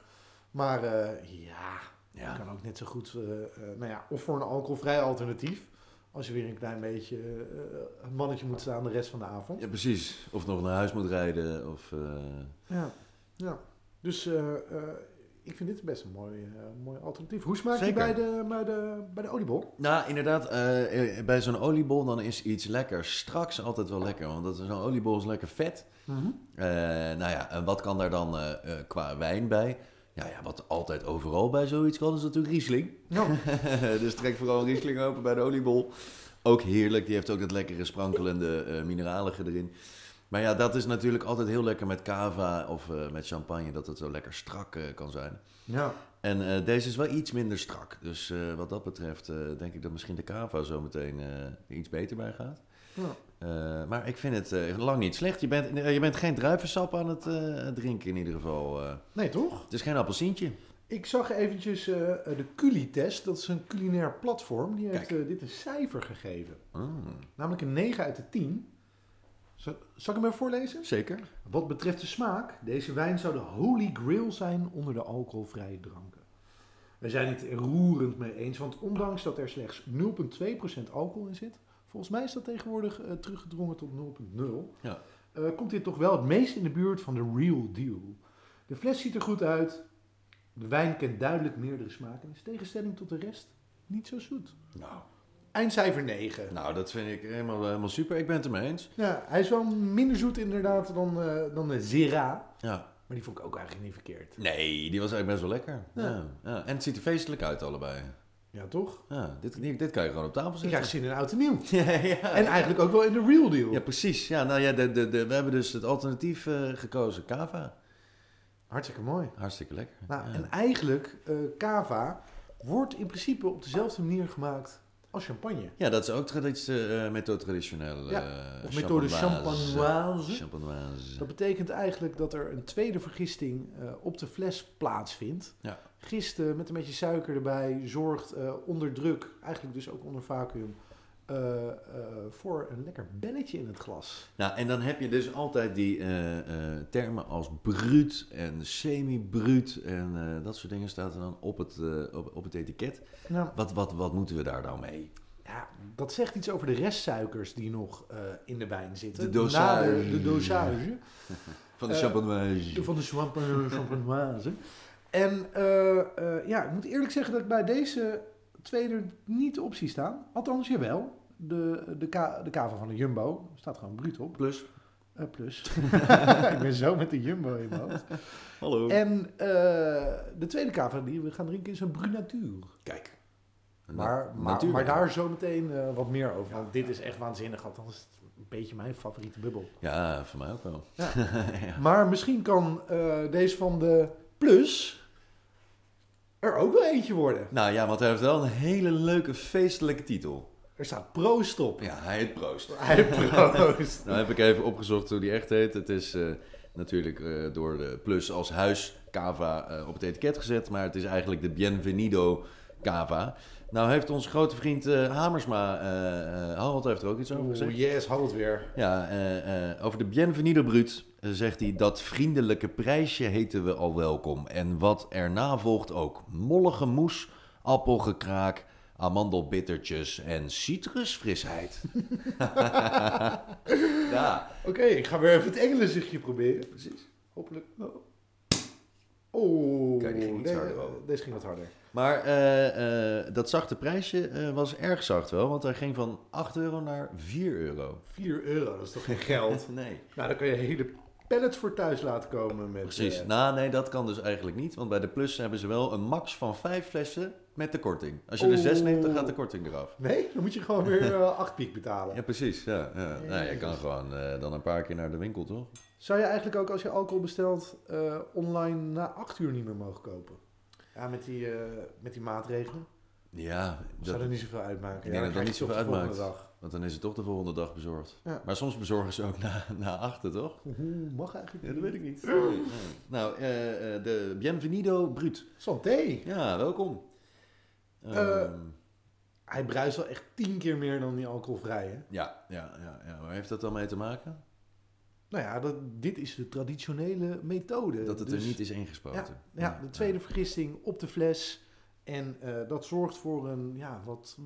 Speaker 1: Maar eh, ja,
Speaker 2: Ja.
Speaker 1: je kan ook net zo goed... eh, eh, nou ja, of voor een alcoholvrij alternatief. Als je weer een klein beetje eh, een mannetje moet staan de rest van de avond.
Speaker 2: Ja, precies. Of nog naar huis moet rijden. Of, eh,
Speaker 1: Ja. ja. Dus eh, eh, ik vind dit best een mooi, eh, mooi alternatief. Hoe smaakt die
Speaker 2: Zeker.
Speaker 1: bij de, bij, de, bij de oliebol?
Speaker 2: Nou, inderdaad, eh, eh, bij zo'n oliebol dan is iets lekker straks altijd wel lekker. Want dat- zo'n oliebol is lekker vet. Eh, nou ja, en wat kan daar dan eh, eh, qua wijn bij? Ja, ja, wat altijd overal bij zoiets kan, is natuurlijk Riesling.
Speaker 1: Nou,
Speaker 2: dus trek vooral een Riesling open bij de oliebol. Ook heerlijk, die heeft ook dat lekkere sprankelende eh mineralige erin. Maar ja, dat is natuurlijk altijd heel lekker met cava of eh, met champagne, dat het zo lekker strak eh, kan zijn.
Speaker 1: ja.
Speaker 2: En eh, deze is wel iets minder strak. Dus eh, wat dat betreft eh, denk ik dat misschien de Cava zo meteen eh, er iets beter bij gaat.
Speaker 1: Ja.
Speaker 2: Eh, maar ik vind het eh, lang niet slecht. Je bent, eh, je bent geen druivensap aan het eh, drinken in ieder geval. eh.
Speaker 1: Nee, toch?
Speaker 2: het is geen appelsientje.
Speaker 1: Ik zag eventjes eh, eh, de Culi-test. Dat is een culinair platform. Die heeft eh, dit een cijfer gegeven.
Speaker 2: Mm,
Speaker 1: Namelijk een 9 uit de 10. Zal, zal ik hem even voorlezen?
Speaker 2: zeker.
Speaker 1: Wat betreft de smaak, deze wijn zou de holy grail zijn onder de alcoholvrije dranken. Wij zijn het er roerend mee eens, want ondanks dat er slechts 0,2% alcohol in zit, volgens mij is dat tegenwoordig eh, teruggedrongen tot 0,0,
Speaker 2: Ja.
Speaker 1: eh, komt dit toch wel het meest in de buurt van de real deal. De fles ziet er goed uit, de wijn kent duidelijk meerdere smaken en is tegenstelling tot de rest niet zo zoet.
Speaker 2: Nou,
Speaker 1: Eindcijfer 9.
Speaker 2: nou, dat vind ik helemaal, helemaal super. Ik ben het ermee eens.
Speaker 1: Ja, hij is wel minder zoet inderdaad dan, eh, dan de Zira.
Speaker 2: Ja.
Speaker 1: Maar die vond ik ook eigenlijk niet verkeerd.
Speaker 2: Nee, die was eigenlijk best wel lekker. Ja.
Speaker 1: Ja.
Speaker 2: ja. En het ziet er feestelijk uit allebei.
Speaker 1: Ja, toch?
Speaker 2: Ja, dit, dit, dit kan je gewoon op tafel
Speaker 1: Ik krijg
Speaker 2: zetten.
Speaker 1: zin in oud en nieuw.
Speaker 2: Ja, ja.
Speaker 1: En eigenlijk ook wel in de real deal.
Speaker 2: Ja, precies. Ja, nou ja, de, de, de, we hebben dus het alternatief eh, gekozen, Cava.
Speaker 1: Hartstikke mooi.
Speaker 2: Hartstikke lekker.
Speaker 1: Nou,
Speaker 2: ja.
Speaker 1: En eigenlijk, eh cava wordt in principe op dezelfde manier gemaakt als champagne.
Speaker 2: Ja, dat is ook traditie, eh, methode traditioneel.
Speaker 1: Ja,
Speaker 2: eh,
Speaker 1: Of methode
Speaker 2: champenoise.
Speaker 1: champanoise.
Speaker 2: Champanoise.
Speaker 1: Dat betekent eigenlijk dat er een tweede vergisting eh, op de fles plaatsvindt.
Speaker 2: Ja.
Speaker 1: Gisten met een beetje suiker erbij zorgt eh, onder druk, eigenlijk dus ook onder vacuüm, eh, eh, voor een lekker belletje in het glas.
Speaker 2: Nou, en dan heb je dus altijd die eh, eh, termen als bruut en semi-bruut en eh, dat soort dingen staat er dan op het, eh, op, op het etiket.
Speaker 1: Nou,
Speaker 2: Wat, wat, wat moeten we daar nou mee?
Speaker 1: Ja, dat zegt iets over de restsuikers die nog eh, in de wijn zitten.
Speaker 2: De dosage.
Speaker 1: Na de, de dosage
Speaker 2: Van de
Speaker 1: Eh,
Speaker 2: champanoise.
Speaker 1: van de champa- champenoise. En eh, eh, ja, ik moet eerlijk zeggen dat ik bij deze twee er niet op zie staan. Althans, jawel. De, de, ka de kava van de Jumbo staat gewoon bruut op.
Speaker 2: Plus.
Speaker 1: Eh, plus. ik ben zo met de Jumbo in mijn hoofd.
Speaker 2: Hallo.
Speaker 1: En eh, de tweede kava die we gaan drinken is een Brunatuur.
Speaker 2: Kijk.
Speaker 1: Maar,
Speaker 2: Na-
Speaker 1: maar, maar
Speaker 2: Nou, natuurlijk.
Speaker 1: daar zo meteen eh, wat meer over. Want dit is echt waanzinnig. Althans, het is een beetje mijn favoriete bubbel.
Speaker 2: Ja, voor mij ook wel.
Speaker 1: Ja.
Speaker 2: ja.
Speaker 1: Maar misschien kan eh, deze van de Plus er ook wel eentje worden.
Speaker 2: Nou ja, want hij heeft wel een hele leuke feestelijke titel.
Speaker 1: Er staat Proost op.
Speaker 2: Ja, hij heet Proost.
Speaker 1: Hij proost.
Speaker 2: Nou heb ik even opgezocht hoe die echt heet. Het is eh, natuurlijk eh, door de Plus als huis Cava eh, op het etiket gezet, maar het is eigenlijk de Bienvenido Cava. Nou heeft onze grote vriend eh, Hamersma, eh, eh, Harald heeft er ook iets over gezegd.
Speaker 1: Oeh, yes, had het weer.
Speaker 2: Ja, eh, eh, over de Bienvenido Brut eh, zegt hij dat vriendelijke prijsje heten we al welkom. En wat erna volgt ook. Mollige moes, appelgekraak, amandelbittertjes en citrusfrisheid. ja,
Speaker 1: Oké, ik ga weer even het engelenzichtje proberen.
Speaker 2: precies. Nou.
Speaker 1: Hopelijk. Oh,
Speaker 2: Kijk, die ging iets
Speaker 1: de-
Speaker 2: harder ook.
Speaker 1: deze ging wat harder.
Speaker 2: Maar eh, eh, dat zachte prijsje eh, was erg zacht wel, want hij ging van 8 euro naar 4 euro.
Speaker 1: 4 euro, dat is toch geen geld?
Speaker 2: Nee.
Speaker 1: nou, dan kan je hele pallets voor thuis laten komen. Met,
Speaker 2: Precies.
Speaker 1: eh,
Speaker 2: Nou, nee, dat kan dus eigenlijk niet. Want bij de Plus hebben ze wel een max van vijf flessen met de korting. Als je er zes neemt, dan gaat de korting eraf.
Speaker 1: nee, dan moet je gewoon weer eh, acht piek betalen.
Speaker 2: Ja, precies. Ja, ja. Nou, je kan gewoon eh, dan een paar keer naar de winkel, toch?
Speaker 1: Zou je eigenlijk ook als je alcohol bestelt eh, online na acht uur niet meer mogen kopen? Ja, met die, eh, met die maatregelen.
Speaker 2: Ja, dat,
Speaker 1: Zou er niet zoveel uitmaken.
Speaker 2: Ik denk
Speaker 1: dan
Speaker 2: dat dat niet
Speaker 1: krijg je het
Speaker 2: zoveel
Speaker 1: op de volgende
Speaker 2: uitmaakt.
Speaker 1: dag.
Speaker 2: want dan is het toch de volgende dag bezorgd.
Speaker 1: Ja.
Speaker 2: Maar soms bezorgen ze ook na, na achter, toch?
Speaker 1: Hoe mag eigenlijk
Speaker 2: Ja, dat weet ik
Speaker 1: niet.
Speaker 2: Nou, eh, eh, de Bienvenido Brut.
Speaker 1: Santé.
Speaker 2: Ja, welkom.
Speaker 1: Eh,
Speaker 2: Ehm,
Speaker 1: Hij bruist wel echt tien keer meer dan die alcoholvrije.
Speaker 2: ja, ja, ja, ja. Waar heeft dat dan mee te maken?
Speaker 1: Nou ja, dat, dit is de traditionele methode.
Speaker 2: Dat het
Speaker 1: Dus-
Speaker 2: er niet is ingespoten.
Speaker 1: Ja, de tweede vergisting op de fles. En eh, dat zorgt voor een ja, wat,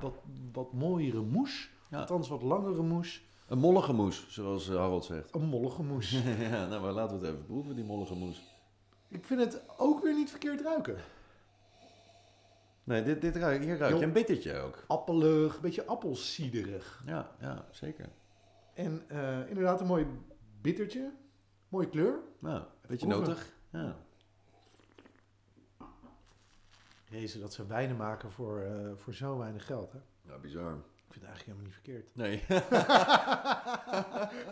Speaker 1: wat, wat mooiere moes.
Speaker 2: Ja.
Speaker 1: Althans, wat langere moes.
Speaker 2: Een mollige moes, zoals eh, Harold zegt.
Speaker 1: Een mollige moes.
Speaker 2: ja, nou, maar laten we het even proeven, die mollige moes.
Speaker 1: Ik vind het ook weer niet verkeerd ruiken.
Speaker 2: Nee, dit, dit ruik, hier ruik
Speaker 1: Jong.
Speaker 2: je een bittertje ook.
Speaker 1: Appelig, een beetje appelsiederig.
Speaker 2: Ja, ja zeker.
Speaker 1: En eh, inderdaad een mooi bittertje. Mooie kleur.
Speaker 2: Nou, een beetje
Speaker 1: proeven.
Speaker 2: notig. Ja.
Speaker 1: Jezus, dat ze wijnen maken voor, eh, voor zo weinig geld. Hè?
Speaker 2: ja, bizar.
Speaker 1: Ik vind het eigenlijk helemaal niet verkeerd.
Speaker 2: Nee.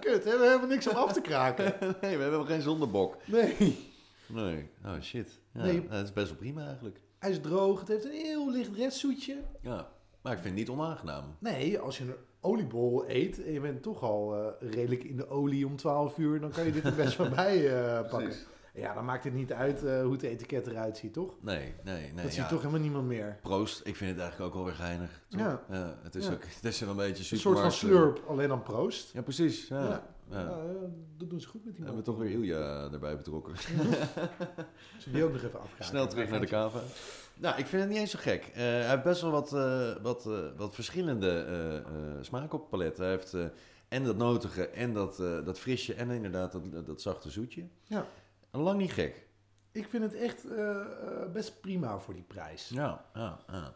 Speaker 1: Kut, hè? we hebben niks om af te kraken.
Speaker 2: nee, we hebben geen zondebok.
Speaker 1: Nee.
Speaker 2: Nee. Oh, shit. Ja,
Speaker 1: Nee.
Speaker 2: nou, Dat is best wel prima eigenlijk.
Speaker 1: Hij is droog, het heeft een heel licht restzoetje.
Speaker 2: Ja. Maar ik vind het niet onaangenaam.
Speaker 1: Nee, als je een oliebol eet en je bent toch al eh, redelijk in de olie om 12 uur, dan kan je dit er best wel bij eh, pakken. Ja, dan maakt het niet uit eh, hoe het etiket eruit ziet, toch?
Speaker 2: Nee, nee, nee.
Speaker 1: dat
Speaker 2: ja.
Speaker 1: ziet toch helemaal niemand meer.
Speaker 2: Proost, ik vind het eigenlijk ook wel weer geinig. toch?
Speaker 1: Ja.
Speaker 2: het is
Speaker 1: Ja.
Speaker 2: ook het is wel een beetje
Speaker 1: Een soort
Speaker 2: supermarkt.
Speaker 1: van slurp, alleen dan proost.
Speaker 2: Ja, precies. Ja.
Speaker 1: Ja.
Speaker 2: Ja.
Speaker 1: Ja, eh, dat doen ze goed met die
Speaker 2: We
Speaker 1: man.
Speaker 2: hebben toch weer Ilja erbij betrokken.
Speaker 1: Ze die ook nog even afkraken.
Speaker 2: Snel terug naar de kava. Nou, ik vind het niet eens zo gek. Eh, hij heeft best wel wat, eh, wat, eh, wat verschillende eh, eh, smaken op het palet. Hij heeft eh, en dat notige en dat, eh, dat frisje en inderdaad dat, dat zachte zoetje.
Speaker 1: Ja.
Speaker 2: En lang niet gek.
Speaker 1: Ik vind het echt eh, eh, best prima voor die prijs.
Speaker 2: Ja, ja, ja.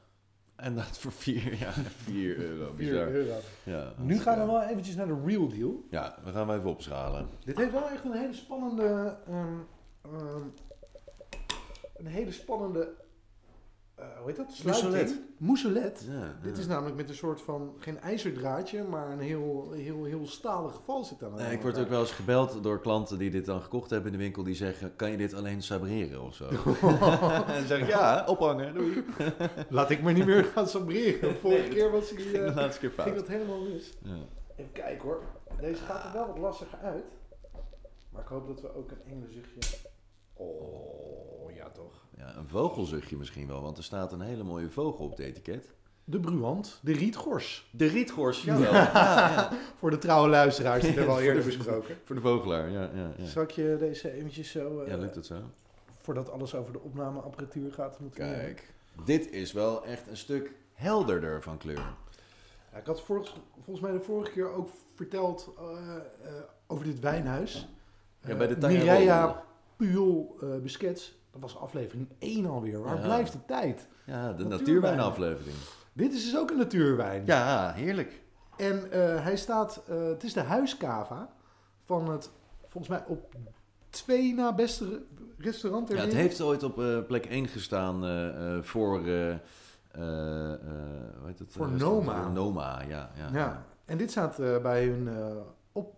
Speaker 2: En dat voor 4 ja, vier euro.
Speaker 1: 4
Speaker 2: Bizar.
Speaker 1: euro.
Speaker 2: Ja,
Speaker 1: Nu gaan we
Speaker 2: ja.
Speaker 1: wel eventjes naar de real deal.
Speaker 2: Ja, we gaan hem even opschalen.
Speaker 1: Dit heeft wel echt een hele spannende. ehm, ehm, een hele spannende. eh, hoe heet dat? Sluiting.
Speaker 2: Mousselet.
Speaker 1: Mousselet.
Speaker 2: Ja, ja.
Speaker 1: Dit is namelijk met een soort van. geen ijzerdraadje, maar een heel, heel, heel stalig geval zit nou aan.
Speaker 2: Nee, ik word ook wel eens gebeld door klanten die dit dan gekocht hebben in de winkel. Die zeggen, kan je dit alleen sabreren of zo? en dan zeg ik, ja, ophangen, doei.
Speaker 1: Laat ik maar niet meer gaan sabreren. Vorige keer was ik,
Speaker 2: De
Speaker 1: eh,
Speaker 2: laatste keer
Speaker 1: ging
Speaker 2: fout.
Speaker 1: dat helemaal mis.
Speaker 2: Ja.
Speaker 1: Even kijken hoor. Deze gaat er wel wat lastiger uit. Maar ik hoop dat we ook een engelenzuchtje. Oh, ja toch.
Speaker 2: Ja, een vogelzuchtje misschien wel, want er staat een hele mooie vogel op het etiket.
Speaker 1: De Bruant, de Rietgors.
Speaker 2: De rietgors, ja.
Speaker 1: Voor de trouwe luisteraars, die hebben we al eerder besproken.
Speaker 2: Voor de vogelaar, ja. Ja, ja.
Speaker 1: Zal ik je deze eventjes zo, eh,
Speaker 2: ja lukt het zo?
Speaker 1: voordat alles over de opnameapparatuur gaat, moeten we-
Speaker 2: Kijk, dit is wel echt een stuk helderder van kleur.
Speaker 1: Ja, ik had volgens, volgens mij de vorige keer ook verteld eh, eh, over dit wijnhuis.
Speaker 2: Ja, bij de
Speaker 1: Eh,
Speaker 2: Tangerol.
Speaker 1: Mireia Puyol eh Busquets, dat was aflevering 1 alweer. Waar
Speaker 2: Ja.
Speaker 1: blijft de tijd?
Speaker 2: Ja, de
Speaker 1: Natuurwijn.
Speaker 2: natuurwijnaflevering.
Speaker 1: Dit is dus ook een natuurwijn.
Speaker 2: Ja, heerlijk.
Speaker 1: En eh, hij staat, eh, het is de huiskava van het, volgens mij op twee na beste re- restaurant ter
Speaker 2: Ja, het
Speaker 1: wereld.
Speaker 2: heeft ooit op eh, plek 1 gestaan eh, eh, voor... eh, eh, eh, hoe heet het?
Speaker 1: Voor
Speaker 2: Eh, restaurant?
Speaker 1: Noma.
Speaker 2: Voor Noma, ja. ja,
Speaker 1: Ja, en dit staat eh, bij hun eh, op,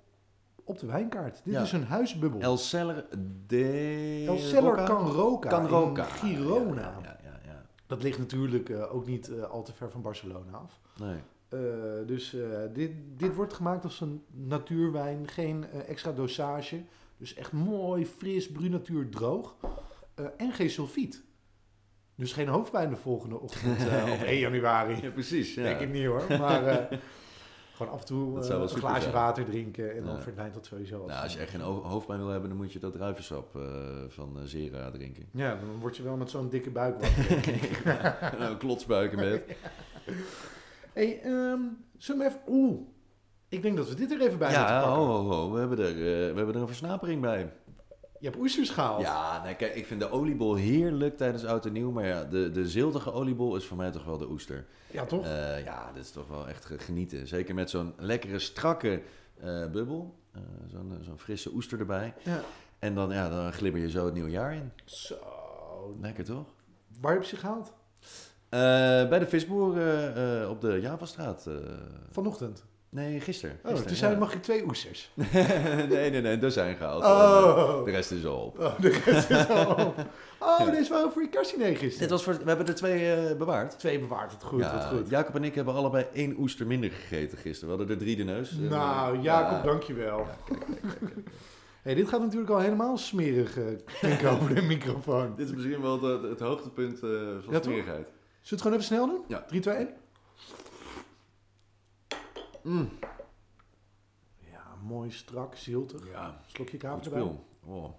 Speaker 1: op de wijnkaart. Dit
Speaker 2: Ja.
Speaker 1: is hun huisbubbel. El,
Speaker 2: El Celler de...
Speaker 1: Cellar
Speaker 2: Rocca?
Speaker 1: Can Roca.
Speaker 2: Can Roca.
Speaker 1: in Girona.
Speaker 2: Ja, ja, ja, ja.
Speaker 1: Dat ligt natuurlijk eh, ook niet eh, al te ver van Barcelona af.
Speaker 2: Nee.
Speaker 1: Eh, dus eh, dit, dit wordt gemaakt als een natuurwijn, geen eh, extra dosage. Dus echt mooi, fris, brunatuur, droog. Eh, en geen sulfiet. Dus geen hoofdpijn de volgende ochtend eh, op 1 januari.
Speaker 2: Ja, precies. Ja.
Speaker 1: Denk ik niet hoor. Maar eh, gewoon af en toe
Speaker 2: Dat
Speaker 1: eh,
Speaker 2: zou wel
Speaker 1: een
Speaker 2: super
Speaker 1: glaasje
Speaker 2: zijn.
Speaker 1: water drinken en dan
Speaker 2: Ja.
Speaker 1: verdwijnt dat sowieso. al.
Speaker 2: Nou, als je echt geen ho- hoofdpijn wil hebben, dan moet je dat druivensap eh, van eh, Zera drinken.
Speaker 1: Ja, dan word je wel met zo'n dikke buik wakker.
Speaker 2: En dan een klotsbuik in bed.
Speaker 1: hey, ehm, zullen we even... Oeh, ik denk dat we dit er even bij moeten
Speaker 2: Ja,
Speaker 1: pakken.
Speaker 2: ho, ho, ho. We hebben er, eh, we hebben er een versnapering bij.
Speaker 1: Je hebt oesters gehaald.
Speaker 2: Ja, nee, kijk, ik vind de oliebol heerlijk tijdens oud en nieuw. Maar ja, de, de ziltige oliebol is voor mij toch wel de oester.
Speaker 1: Ja, toch?
Speaker 2: Eh, ja, dit is toch wel echt ge- genieten. Zeker met zo'n lekkere, strakke eh, bubbel. Eh, zo'n, eh, zo'n frisse oester erbij.
Speaker 1: Ja.
Speaker 2: En dan, ja, dan glimmer je zo het nieuwe jaar in.
Speaker 1: Zo.
Speaker 2: Lekker toch?
Speaker 1: Waar heb je ze gehaald?
Speaker 2: Eh, bij de visboer eh, eh, op de Javastraat. eh.
Speaker 1: Vanochtend.
Speaker 2: nee, gisteren.
Speaker 1: Oh,
Speaker 2: Gisteren,
Speaker 1: toen zei
Speaker 2: ja.
Speaker 1: je, mag ik twee oesters?
Speaker 2: nee, nee, nee, daar zijn gehaald. En, eh,
Speaker 1: Oh.
Speaker 2: De rest is al op.
Speaker 1: Oh, de rest is al op. Oh, deze waren voor je kerstdiner gisteren.
Speaker 2: Dit was voor, we hebben er twee eh, bewaard.
Speaker 1: Twee bewaard, het Oh, goed,
Speaker 2: Ja,
Speaker 1: wat goed.
Speaker 2: Jacob en ik hebben allebei één oester minder gegeten gisteren. We hadden er drie de neus.
Speaker 1: Nou,
Speaker 2: Eh,
Speaker 1: Jacob,
Speaker 2: ja.
Speaker 1: dankjewel. Hey, dit gaat natuurlijk al helemaal smerig eh, klinken over de microfoon.
Speaker 2: Dit is misschien wel de- het hoogtepunt eh, van
Speaker 1: Ja, toch?
Speaker 2: smerigheid.
Speaker 1: Zullen we het gewoon even snel doen?
Speaker 2: Ja.
Speaker 1: 3, 2, 1.
Speaker 2: Mm.
Speaker 1: Ja, mooi, strak, ziltig.
Speaker 2: Ja,
Speaker 1: Slokje
Speaker 2: goed
Speaker 1: kaver erbij.
Speaker 2: spul. Oh.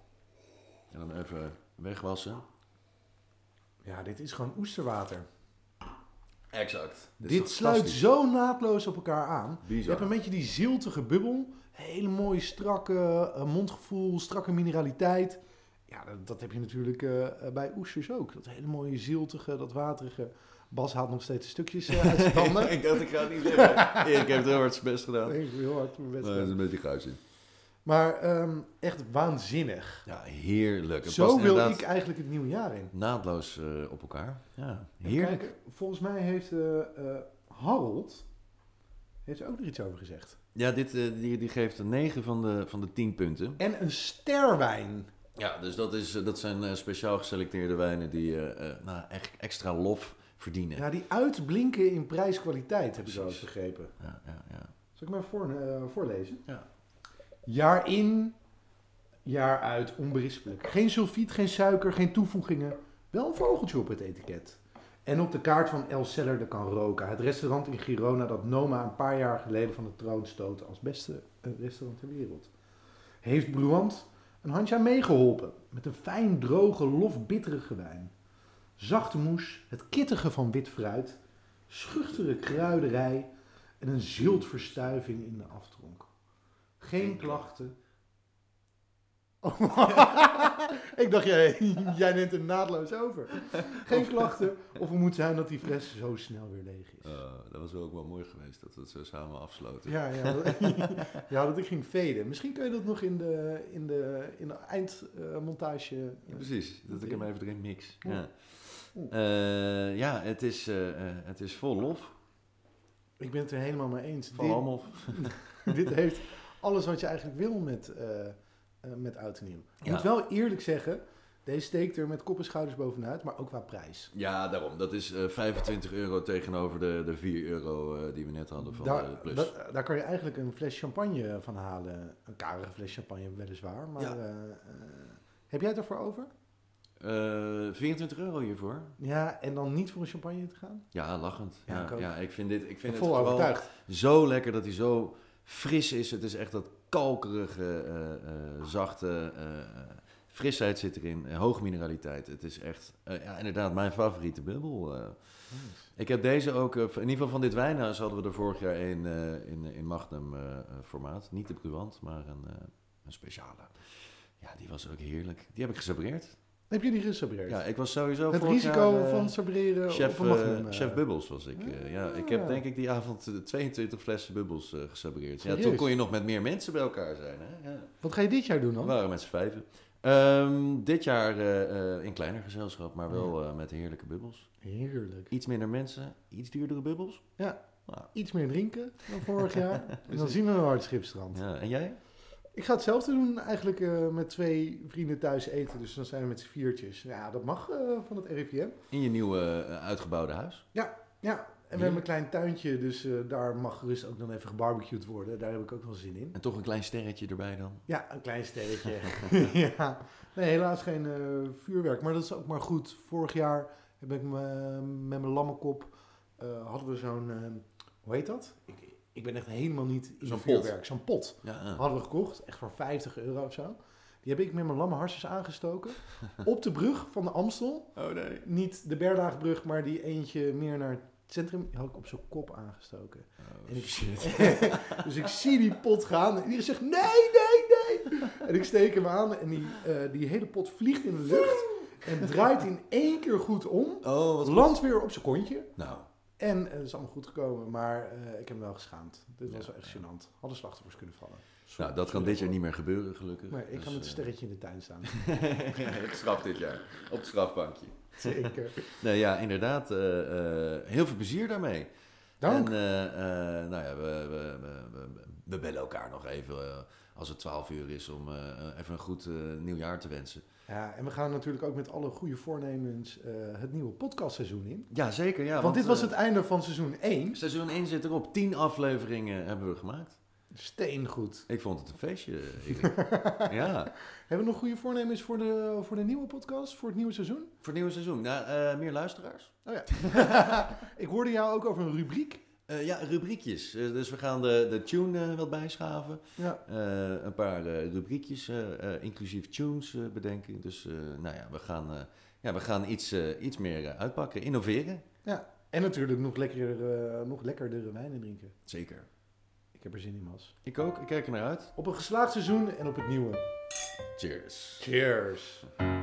Speaker 2: En dan even wegwassen.
Speaker 1: Ja, dit is gewoon oesterwater.
Speaker 2: Exact.
Speaker 1: Dit, sluit zo naadloos op elkaar aan. Je
Speaker 2: Bizar.
Speaker 1: hebt een beetje die ziltige bubbel. Hele mooie, strakke eh, mondgevoel, strakke mineraliteit. Ja, dat, dat heb je natuurlijk eh, eh, bij oesters ook. Dat hele mooie ziltige, dat waterige. Bas haalt nog steeds stukjes eh, uit zijn tanden.
Speaker 2: ik dacht, ik ga het niet zeggen. Erik heeft heel hard zijn best gedaan.
Speaker 1: Ik heb heel hard mijn best
Speaker 2: Maar er is
Speaker 1: gedaan.
Speaker 2: een beetje gruis in.
Speaker 1: Maar ehm, echt waanzinnig.
Speaker 2: Ja, heerlijk. Het
Speaker 1: Zo
Speaker 2: past
Speaker 1: wil
Speaker 2: inderdaad
Speaker 1: ik eigenlijk het nieuwe jaar in.
Speaker 2: naadloos eh, op elkaar. Ja,
Speaker 1: En
Speaker 2: heerlijk.
Speaker 1: kijk, volgens mij heeft eh, eh, Harold heeft er ook nog iets over gezegd.
Speaker 2: Ja, dit, eh, die, die geeft een 9 van de, van de 10 punten.
Speaker 1: En een sterwijn.
Speaker 2: Ja, dus dat, is, eh, dat zijn eh, speciaal geselecteerde wijnen die eh, eh, nou, echt extra lof verdienen. Ja,
Speaker 1: Ja, die uitblinken in prijskwaliteit, heb ik wel eens
Speaker 2: Precies.
Speaker 1: begrepen.
Speaker 2: ja, ja.
Speaker 1: Zal ik maar voor, eh, voorlezen?
Speaker 2: Ja.
Speaker 1: Jaar in, jaar uit, onberispelijk. Geen sulfiet, geen suiker, geen toevoegingen. Wel een vogeltje op het etiket. En op de kaart van El Celler de Can Roca. Het restaurant in Girona dat Noma een paar jaar geleden van de troon stootte als beste eh, restaurant ter wereld. Heeft Bruant een handje aan meegeholpen. Met een fijn, droge, lofbitterige wijn. Zachte moes, het kittige van wit fruit. Schuchtere kruiderij en een ziltverstuiving in de aftronk. Geen klachten. Oh. ik dacht, jij, jij neemt hem naadloos over. Geen klachten of het moet zijn dat die fles zo snel weer leeg is.
Speaker 2: Eh, dat was wel ook wel mooi geweest dat we het zo samen afsloten.
Speaker 1: Ja, ja, ja, dat ik ging veden. Misschien kun je dat nog in de, in de, in de eindmontage...
Speaker 2: Ja, precies, dat ik hem even erin mix. Ja,
Speaker 1: Oeh.
Speaker 2: Eh, ja het, is, eh, eh, het is vol lof.
Speaker 1: ik ben het er helemaal mee eens.
Speaker 2: Vol
Speaker 1: Dit-
Speaker 2: allemaal.
Speaker 1: Dit heeft alles wat je eigenlijk wil met, eh eh, met oud en nieuw. Ik
Speaker 2: Ja.
Speaker 1: moet wel eerlijk zeggen, deze steekt er met kop en schouders bovenuit, maar ook qua prijs.
Speaker 2: Ja, daarom. Dat is eh, 25 euro tegenover de, de 4 euro eh, die we net hadden van de
Speaker 1: Daar,
Speaker 2: plus.
Speaker 1: dat- daar kan je eigenlijk een fles champagne van halen. Een karige fles champagne weliswaar, maar...
Speaker 2: Ja.
Speaker 1: eh, eh, heb jij het ervoor over?
Speaker 2: Eh, 24 euro hiervoor?
Speaker 1: Ja, en dan niet voor een champagne te gaan?
Speaker 2: Ja, lachend.
Speaker 1: Ja,
Speaker 2: Ja,
Speaker 1: ik
Speaker 2: ja,
Speaker 1: ook.
Speaker 2: ik vind, dit, ik vind het
Speaker 1: Vol
Speaker 2: gewoon
Speaker 1: overtuigd.
Speaker 2: zo lekker dat hij zo fris is. Het is echt dat kalkerige, eh, eh, zachte eh, frisheid zit erin. Eh, hoog mineraliteit. Het is echt, eh, ja, inderdaad, mijn favoriete bubbel. eh. Ik heb deze ook, eh, in ieder geval van dit wijnhuis hadden we er vorig jaar een eh, in, in magnum eh, eh, formaat. Niet de Bruant, maar een, eh, een speciale. Ja, die was ook heerlijk. Die heb ik gesaboreerd.
Speaker 1: Heb je die gesabreerd?
Speaker 2: Ja, ik was sowieso
Speaker 1: het
Speaker 2: vorig
Speaker 1: risico
Speaker 2: jaar, eh,
Speaker 1: van sabreren
Speaker 2: Chef,
Speaker 1: op een magnum.
Speaker 2: eh,
Speaker 1: eh.
Speaker 2: chef Bubbels was ik. eh, ja. Ik heb
Speaker 1: Ah.
Speaker 2: denk ik die avond eh, 22 flessen Bubbels eh gesabreerd. Ja,
Speaker 1: Serieus?
Speaker 2: toen kon je nog met meer mensen bij elkaar zijn. Hè? Ja.
Speaker 1: Wat ga je dit jaar doen
Speaker 2: We
Speaker 1: dan?
Speaker 2: waren met z'n vijven. Ehm, dit jaar eh, eh, in kleiner gezelschap, maar wel eh, met heerlijke bubbels.
Speaker 1: Heerlijk.
Speaker 2: Iets minder mensen, iets duurdere bubbels.
Speaker 1: Iets meer drinken dan vorig jaar. en dan zien we een hard schipstrand.
Speaker 2: Ja, en jij?
Speaker 1: Ik ga hetzelfde doen eigenlijk eh, met twee vrienden thuis eten. Dus dan zijn we met z'n viertjes. Ja, dat mag eh, van het RIVM.
Speaker 2: In je nieuwe eh, uitgebouwde huis.
Speaker 1: Ja, en we hebben een klein tuintje. Dus eh, daar mag gerust ook dan even gebarbecued worden. Daar heb ik ook wel zin in.
Speaker 2: En toch een klein sterretje erbij dan.
Speaker 1: Ja, een klein stelletje. ja. Nee, helaas geen eh, vuurwerk. Maar dat is ook maar goed. Vorig jaar heb ik me, met mijn lammenkop... eh, hadden we zo'n... eh, hoe heet dat? Ik, ik ben echt helemaal niet in
Speaker 2: Zo'n
Speaker 1: vuurwerk. Zo'n pot.
Speaker 2: Ja, eh.
Speaker 1: hadden we gekocht, echt voor 50 euro of zo. Die heb ik met mijn lamme harsjes aangestoken. Op de brug van de Amstel.
Speaker 2: Oh nee.
Speaker 1: Niet de Berlaagbrug, maar die eentje meer naar het centrum. Die had ik op zijn kop aangestoken.
Speaker 2: Oh,
Speaker 1: En ik- dus ik zie die pot gaan. En iedereen zegt, nee, nee, nee. En ik steek hem aan. En die, eh, die hele pot vliegt in de lucht. En draait in één keer goed om.
Speaker 2: Oh, wat
Speaker 1: Landt weer op zijn kontje.
Speaker 2: Nou,
Speaker 1: En eh, het is allemaal goed gekomen, maar eh, ik heb hem wel geschaamd. Dit was
Speaker 2: Ja,
Speaker 1: wel echt
Speaker 2: ja.
Speaker 1: gênant. Hadden slachtoffers kunnen vallen.
Speaker 2: Nou, dat kan dit jaar niet meer gebeuren, gelukkig.
Speaker 1: Maar ik
Speaker 2: Dus,
Speaker 1: ga met een
Speaker 2: eh,
Speaker 1: sterretje in de tuin staan.
Speaker 2: het straf dit jaar. Op het strafbankje.
Speaker 1: Zeker.
Speaker 2: Nee, ja, inderdaad. eh, eh, heel veel plezier daarmee.
Speaker 1: Dank.
Speaker 2: En eh, eh, nou ja, we, we, we- we, we bellen elkaar nog even eh, als het 12 uur is om eh, even een goed eh, nieuwjaar te wensen.
Speaker 1: Ja, en we gaan natuurlijk ook met alle goede voornemens eh, het nieuwe podcastseizoen in.
Speaker 2: Ja, zeker. Ja,
Speaker 1: want, dit was
Speaker 2: eh,
Speaker 1: het einde van seizoen 1.
Speaker 2: Seizoen 1 zit erop. 10 afleveringen hebben we gemaakt.
Speaker 1: Steengoed.
Speaker 2: Ik vond het een feestje. Erik. ja.
Speaker 1: Hebben we nog goede voornemens voor de, voor de nieuwe podcast? Voor het nieuwe seizoen?
Speaker 2: Voor het nieuwe seizoen. Nou, eh, meer luisteraars?
Speaker 1: Oh ja. ik hoorde jou ook over een rubriek.
Speaker 2: Eh, ja, rubriekjes. Eh, dus we gaan de, de tune eh, wat bijschaven.
Speaker 1: Ja.
Speaker 2: Eh, een paar eh, rubriekjes, eh, eh, inclusief tunes eh, bedenken. Dus eh, nou ja, we gaan, eh, ja, we gaan iets, eh, iets meer eh, uitpakken, innoveren.
Speaker 1: En natuurlijk nog lekkerder, eh, nog lekkerdere wijnen drinken.
Speaker 2: Zeker.
Speaker 1: Ik heb er zin in, Mas.
Speaker 2: Ik ook, ik kijk er naar uit.
Speaker 1: Op een geslaagd seizoen en op het nieuwe.
Speaker 2: Cheers.
Speaker 1: Cheers.